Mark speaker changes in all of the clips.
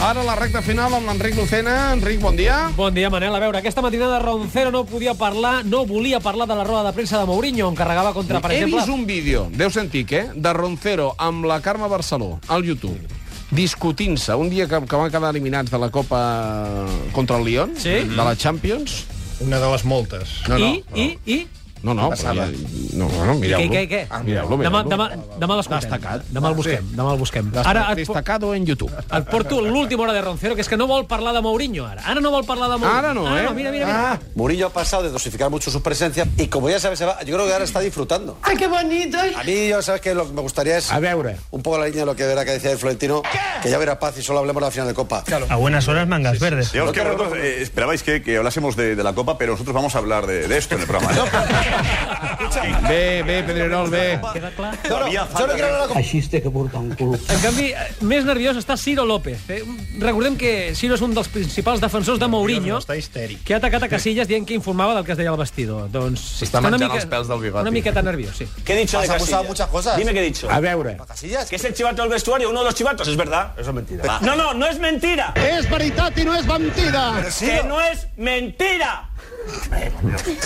Speaker 1: ara la recta final amb l'Enric Lucena. Enric, bon dia.
Speaker 2: Bon dia, Manel. A veure, aquesta matinada Roncero no podia parlar, no volia parlar de la roda de premsa de Mourinho, on carregava contra, per
Speaker 1: He
Speaker 2: exemple...
Speaker 1: vist un vídeo, deu sentir, eh? de Roncero amb la Carme Barceló, al YouTube, discutint-se un dia que, que van quedar eliminats de la Copa contra el Lyon,
Speaker 2: Sí?
Speaker 1: de la Champions.
Speaker 3: Una de les moltes.
Speaker 1: No, no,
Speaker 2: I, i, i...
Speaker 1: no, no, però ja,
Speaker 3: passada.
Speaker 1: no, no mireu-lo.
Speaker 2: Què, què, què?
Speaker 1: Ah, mireu-lo,
Speaker 2: Demà,
Speaker 1: mireu-lo.
Speaker 2: demà, demà l'escoltem.
Speaker 1: Destacat.
Speaker 2: Demà el busquem, demà el busquem. Ara et, po-
Speaker 1: Destacado en YouTube.
Speaker 2: et porto l'última hora de Roncero, que és que no vol parlar de Mourinho, ara. Ara no vol parlar de Mourinho.
Speaker 1: Ara no, eh?
Speaker 2: mira, mira, mira.
Speaker 1: Ah.
Speaker 4: Murillo ha pasado de dosificar mucho sus presencias y como ya sabes, se va- yo creo que ahora está disfrutando.
Speaker 5: ¡Ay, qué bonito!
Speaker 4: A mí, yo sabes que lo que me gustaría es
Speaker 3: A veure.
Speaker 4: un poco la línea de lo que verá que decía el Florentino, que ya verá paz y solo hablemos de la final de Copa.
Speaker 6: A buenas horas, mangas verdes.
Speaker 7: Digamos que vosotros eh, esperabais que, que hablásemos de, de la Copa, pero nosotros vamos a hablar de, de esto en el programa. ¿no?
Speaker 1: Bé, bé, Pedrerol, bé.
Speaker 2: Queda clar?
Speaker 4: No, no, yo
Speaker 7: Había
Speaker 4: no
Speaker 7: falta
Speaker 4: quiero hablar de la Copa.
Speaker 2: En canvi, eh, més nerviós està Ciro López. Eh? Recordem que Ciro és un dels principals defensors de Mourinho,
Speaker 3: Està histèric.
Speaker 2: que ha atacat a Casillas dient que informava del que es deia al vestidor. Doncs
Speaker 8: S'està
Speaker 2: una
Speaker 8: menjant els pèls del bigoti.
Speaker 2: Una miqueta nerviós, sí.
Speaker 9: ¿Qué he dicho
Speaker 4: Has
Speaker 9: de
Speaker 4: acusado
Speaker 9: Casillas?
Speaker 4: muchas cosas.
Speaker 9: Dime qué he dicho.
Speaker 3: A veure.
Speaker 4: Casillas.
Speaker 9: ¿Que es el chivato del vestuario? ¿Uno de los chivatos? Es verdad. Eso es mentira. No, no, no es mentira.
Speaker 5: Es veritat i no és mentida!
Speaker 9: Que no es mentira.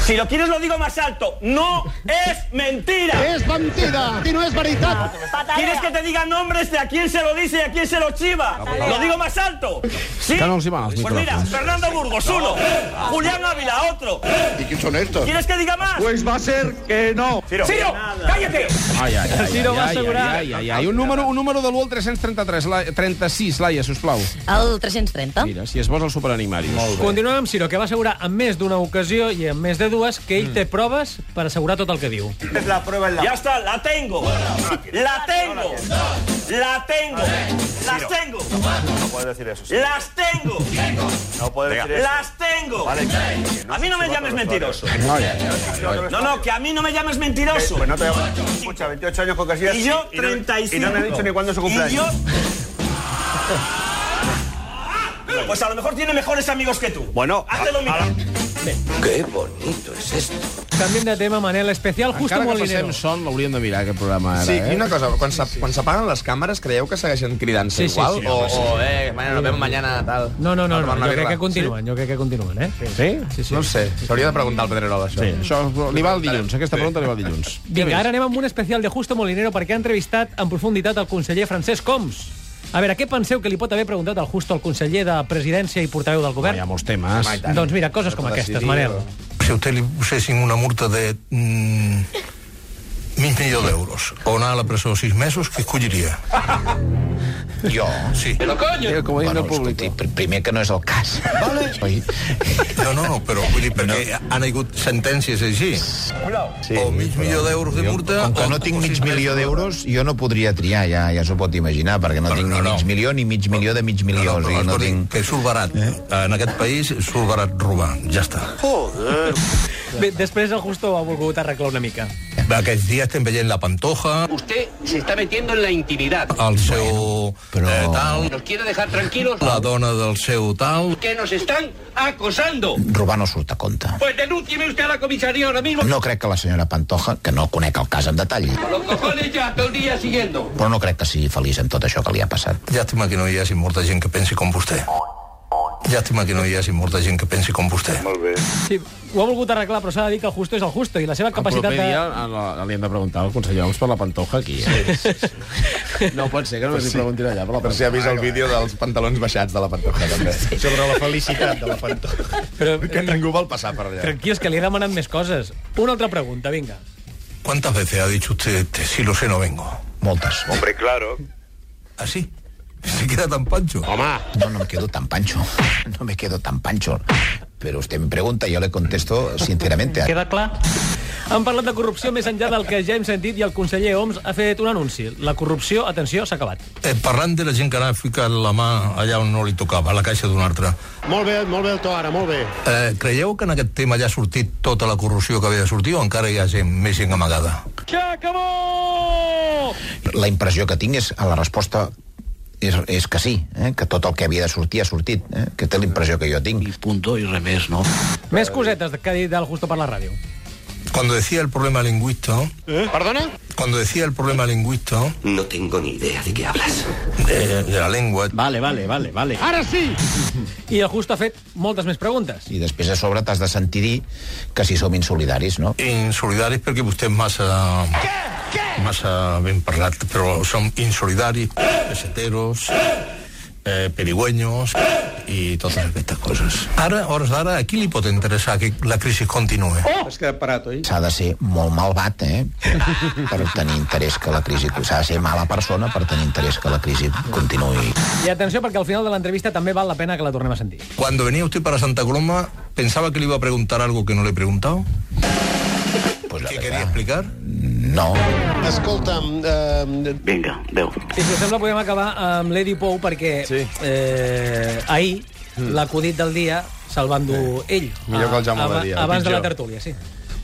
Speaker 9: Si lo quieres lo digo más alto. No es mentira.
Speaker 5: És mentida i no és veritat!
Speaker 9: ¿Quieres que te diga nombres de a quién se lo dice y a quién se lo chiva? Lo digo más alto. Sí.
Speaker 1: Que no els hi van els
Speaker 9: Pues mira,
Speaker 1: micròfons.
Speaker 9: Fernando Burgos uno, Julián Ávila otro.
Speaker 7: ¿Y quién son estos?
Speaker 9: ¿Quieres que diga más?
Speaker 5: Pues va a ser que no.
Speaker 7: Ciro.
Speaker 9: Ciro, cállate.
Speaker 1: Ai, ai, ai,
Speaker 2: Ciro va assegurar-
Speaker 1: Ai, ai, ai, ai. Un número, un número de l'1 al 333, la, 36, Laia, sisplau.
Speaker 10: El
Speaker 8: Ah.
Speaker 10: 330.
Speaker 1: Mira, si es vols el Super Animarius.
Speaker 2: Continuem amb Ciro, que va assegurar en més d'una ocasió i en més de dues que
Speaker 8: Mm.
Speaker 2: ell té proves per assegurar tot el que diu.
Speaker 7: La prueba es
Speaker 9: Ya está, la tengo. La tengo. La tengo. Las tengo.
Speaker 7: No puedes decir eso.
Speaker 9: Las tengo.
Speaker 7: No puedes decir eso.
Speaker 9: Las tengo. A mí no me llames mentiroso. No,
Speaker 7: No,
Speaker 9: no, que a mí no me llames mentiroso.
Speaker 7: Pues no te Escucha, 28 años con Casillas.
Speaker 9: Y yo
Speaker 7: no-
Speaker 9: 35.
Speaker 7: Y no me ha dicho ni cuándo es su
Speaker 9: Y yo...
Speaker 7: cumpleaños.
Speaker 9: Pues a lo mejor tiene mejores amigos que tú.
Speaker 7: Bueno,
Speaker 9: Háztelo mirar.
Speaker 4: Qué bonito es esto.
Speaker 2: Canviem de tema, Manel. Especial Justo
Speaker 1: Encara que passem
Speaker 2: Molinero.
Speaker 1: son, l'hauríem de mirar, aquest programa, ara,
Speaker 8: Sí,
Speaker 1: eh?
Speaker 8: i una cosa, quan s'ap- quan s'apaguen les càmeres, creieu que segueixen cridant-se
Speaker 2: Sí, sí,
Speaker 8: igual?
Speaker 2: sí,
Speaker 8: o, o, eh, mañana nos vemos mañana, tal.
Speaker 2: No, no, no,
Speaker 8: A
Speaker 2: no,
Speaker 8: tomar una
Speaker 2: jo crec
Speaker 8: birra.
Speaker 2: que continuen, jo crec que continuen, eh?
Speaker 1: Sí?
Speaker 2: Sí,
Speaker 8: Sí? Doncs, No ho sé, s'hauria de preguntar al Pedrerol, això.
Speaker 1: Sí, això li va el dilluns, aquesta pregunta li va el dilluns.
Speaker 2: Vinga, ara anem amb un especial de Justo Molinero perquè ha entrevistat en profunditat el conseller Francesc Coms. A veure, què penseu que li pot haver preguntat al Justo, el conseller de Presidència i portaveu del
Speaker 1: Hi
Speaker 2: govern?
Speaker 1: ha molts temes.
Speaker 8: Home, i tant.
Speaker 2: doncs mira, coses com
Speaker 8: Pot
Speaker 2: aquestes,
Speaker 8: decidir,
Speaker 2: Manel.
Speaker 8: o-
Speaker 6: Si a usted le pusessin una multa de mm, mig milió d'euros o anar a la presó sis mesos, què escolliria? Jo? Sí.
Speaker 1: Eh, Com ho diu el públic.
Speaker 8: primer que no és el cas. Vale. Oi?
Speaker 6: No, no, no, però vull dir, perquè han hagut sentències així.
Speaker 8: Sí,
Speaker 6: o mig milió d'euros de multa...
Speaker 11: Com que
Speaker 6: o-
Speaker 11: no tinc
Speaker 6: o
Speaker 11: mig
Speaker 6: sis
Speaker 11: milió
Speaker 6: mesos.
Speaker 11: d'euros, jo no podria triar, ja ja s'ho pot imaginar, perquè no tinc ni mig milió ni mig milió de mig
Speaker 6: No,
Speaker 11: milió. o
Speaker 6: no, però
Speaker 11: sigui, no
Speaker 6: escolti,
Speaker 11: tinc...
Speaker 6: que surt barat. Eh? En aquest país surt barat robar. Ja està.
Speaker 2: Bé, després el Justo ho ha volgut arreglar una mica.
Speaker 6: Aquests dies estem veient la Pantoja,
Speaker 5: Usted se está metiendo en la intimidad.
Speaker 6: el seu
Speaker 11: però-
Speaker 6: eh, tal,
Speaker 5: ¿Nos quiere dejar tranquilos?
Speaker 6: la dona del seu tal...
Speaker 5: Que nos están acosando.
Speaker 11: Robar no surt a compte.
Speaker 5: Pues denúncieme usted a la comisaría ahora mismo.
Speaker 11: No crec que la senyora Pantoja, que no conec el cas en detall,
Speaker 5: Los cojones ya todo el día siguiendo.
Speaker 11: però no crec que sigui feliç amb tot això que li ha passat.
Speaker 6: Llàstima que no hi hagi molta gent que pensi com vostè. Llàstima que no hi hagi molta gent que pensi com vostè.
Speaker 2: Sí, ho ha volgut arreglar, però s'ha de dir que el Justo és el Justo i la seva
Speaker 1: El proper
Speaker 2: capacitat de...
Speaker 1: dia a la- li hem de preguntar al conseller Homs per la pantoja aquí. Eh? No pot ser que només li preguntin allà per la
Speaker 8: Per si ha
Speaker 1: pantoja.
Speaker 8: vist el vídeo dels pantalons baixats de la pantoja, també. Sí.
Speaker 3: Sobre la felicitat de la Pantoja.
Speaker 2: Però, eh,
Speaker 8: Que ningú vol passar per allà.
Speaker 2: tranquils, que li he demanat més coses. Una altra pregunta, vinga.
Speaker 6: ¿Cuántas veces ha dicho usted, "Te- si lo sé, no vengo?
Speaker 11: Moltes.
Speaker 7: Hombre, claro.
Speaker 6: ¿Así? Se queda tan pancho.
Speaker 11: No, no me quedo tan pancho. No me quedo tan pancho. Pero usted me pregunta y yo le contesto sinceramente.
Speaker 2: Queda clar? Han parlat de corrupció més enllà del que ja hem sentit i el conseller Homs ha fet un anunci. La corrupció, atenció, s'ha acabat.
Speaker 6: Eh, parlant de la gent que anava ficant la mà allà on no li tocava, a la caixa d'un altre,
Speaker 5: Molt bé, molt bé el to ara, molt bé.
Speaker 6: eh, creieu que en aquest tema ja ha sortit tota la corrupció que havia de sortir o encara hi ha gent, més gent amagada?
Speaker 11: La impressió que tinc és a la resposta és, és que sí, eh? que tot el que havia de sortir ha sortit. Eh? Que té la impressió que jo tinc.
Speaker 5: Punto i res més, no?
Speaker 2: Més cosetes que ha dit el Justo per la ràdio.
Speaker 6: Cuando decía el problema lingüístico,
Speaker 5: ¿Perdona?
Speaker 6: cuando decía el problema lingüístico
Speaker 9: No tengo ni idea de qué hablas.
Speaker 6: de, de la lengua,
Speaker 10: Vale, vale, vale, vale.
Speaker 5: Ara sí!
Speaker 2: I el Justo ha fet moltes més preguntes.
Speaker 11: I després a sobre t'has de sentir dir que si som insolidaris, no?
Speaker 6: insolidaris perquè vostè és massa... Què? Què? Massa ben parlat, però som insolidaris, peseteros, eh, perigüeños i totes aquestes coses. Ara, a hores d'ara, a qui li pot interessar que la crisi continuï?
Speaker 3: Has quedat parat, oi?
Speaker 11: S'ha de ser molt malvat, eh? Per tenir interès que la crisi... S'ha de ser mala persona per tenir interès que la crisi continuï.
Speaker 2: I atenció, perquè al final de l'entrevista també val la pena que la tornem a sentir.
Speaker 6: Cuando venía usted para Santa Coloma, ¿pensaba que le iba a preguntar algo que no le he preguntado?
Speaker 11: Pues la
Speaker 6: ¿Qué quería
Speaker 11: verdad,
Speaker 6: explicar?
Speaker 11: Doncs, eh, no.
Speaker 5: Escolta'm, eh,
Speaker 9: Venga, veo.
Speaker 2: I si us sembla, podem acabar amb l'Edi Pou, perquè sí. eh, ahir l'acudit del dia se'l va endur ell.
Speaker 8: Mm. Millor que el Jaume
Speaker 2: Aba-
Speaker 8: Badia,
Speaker 2: Abans de la
Speaker 8: pitjor.
Speaker 2: tertúlia, sí.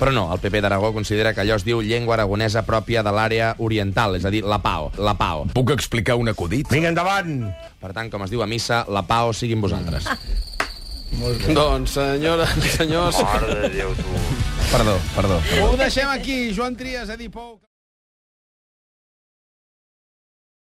Speaker 8: Però no, el PP d'Aragó considera que allò es diu llengua aragonesa pròpia de l'àrea oriental, és a dir, la PAO, la PAO.
Speaker 10: Puc explicar un acudit?
Speaker 3: Vinga, endavant!
Speaker 8: Per tant, com es diu a missa, la PAO siguin vosaltres.
Speaker 1: Doncs, senyores, senyors...
Speaker 8: Perdó, perdó.
Speaker 1: Ho deixem aquí, Joan Trias, Edi Pou...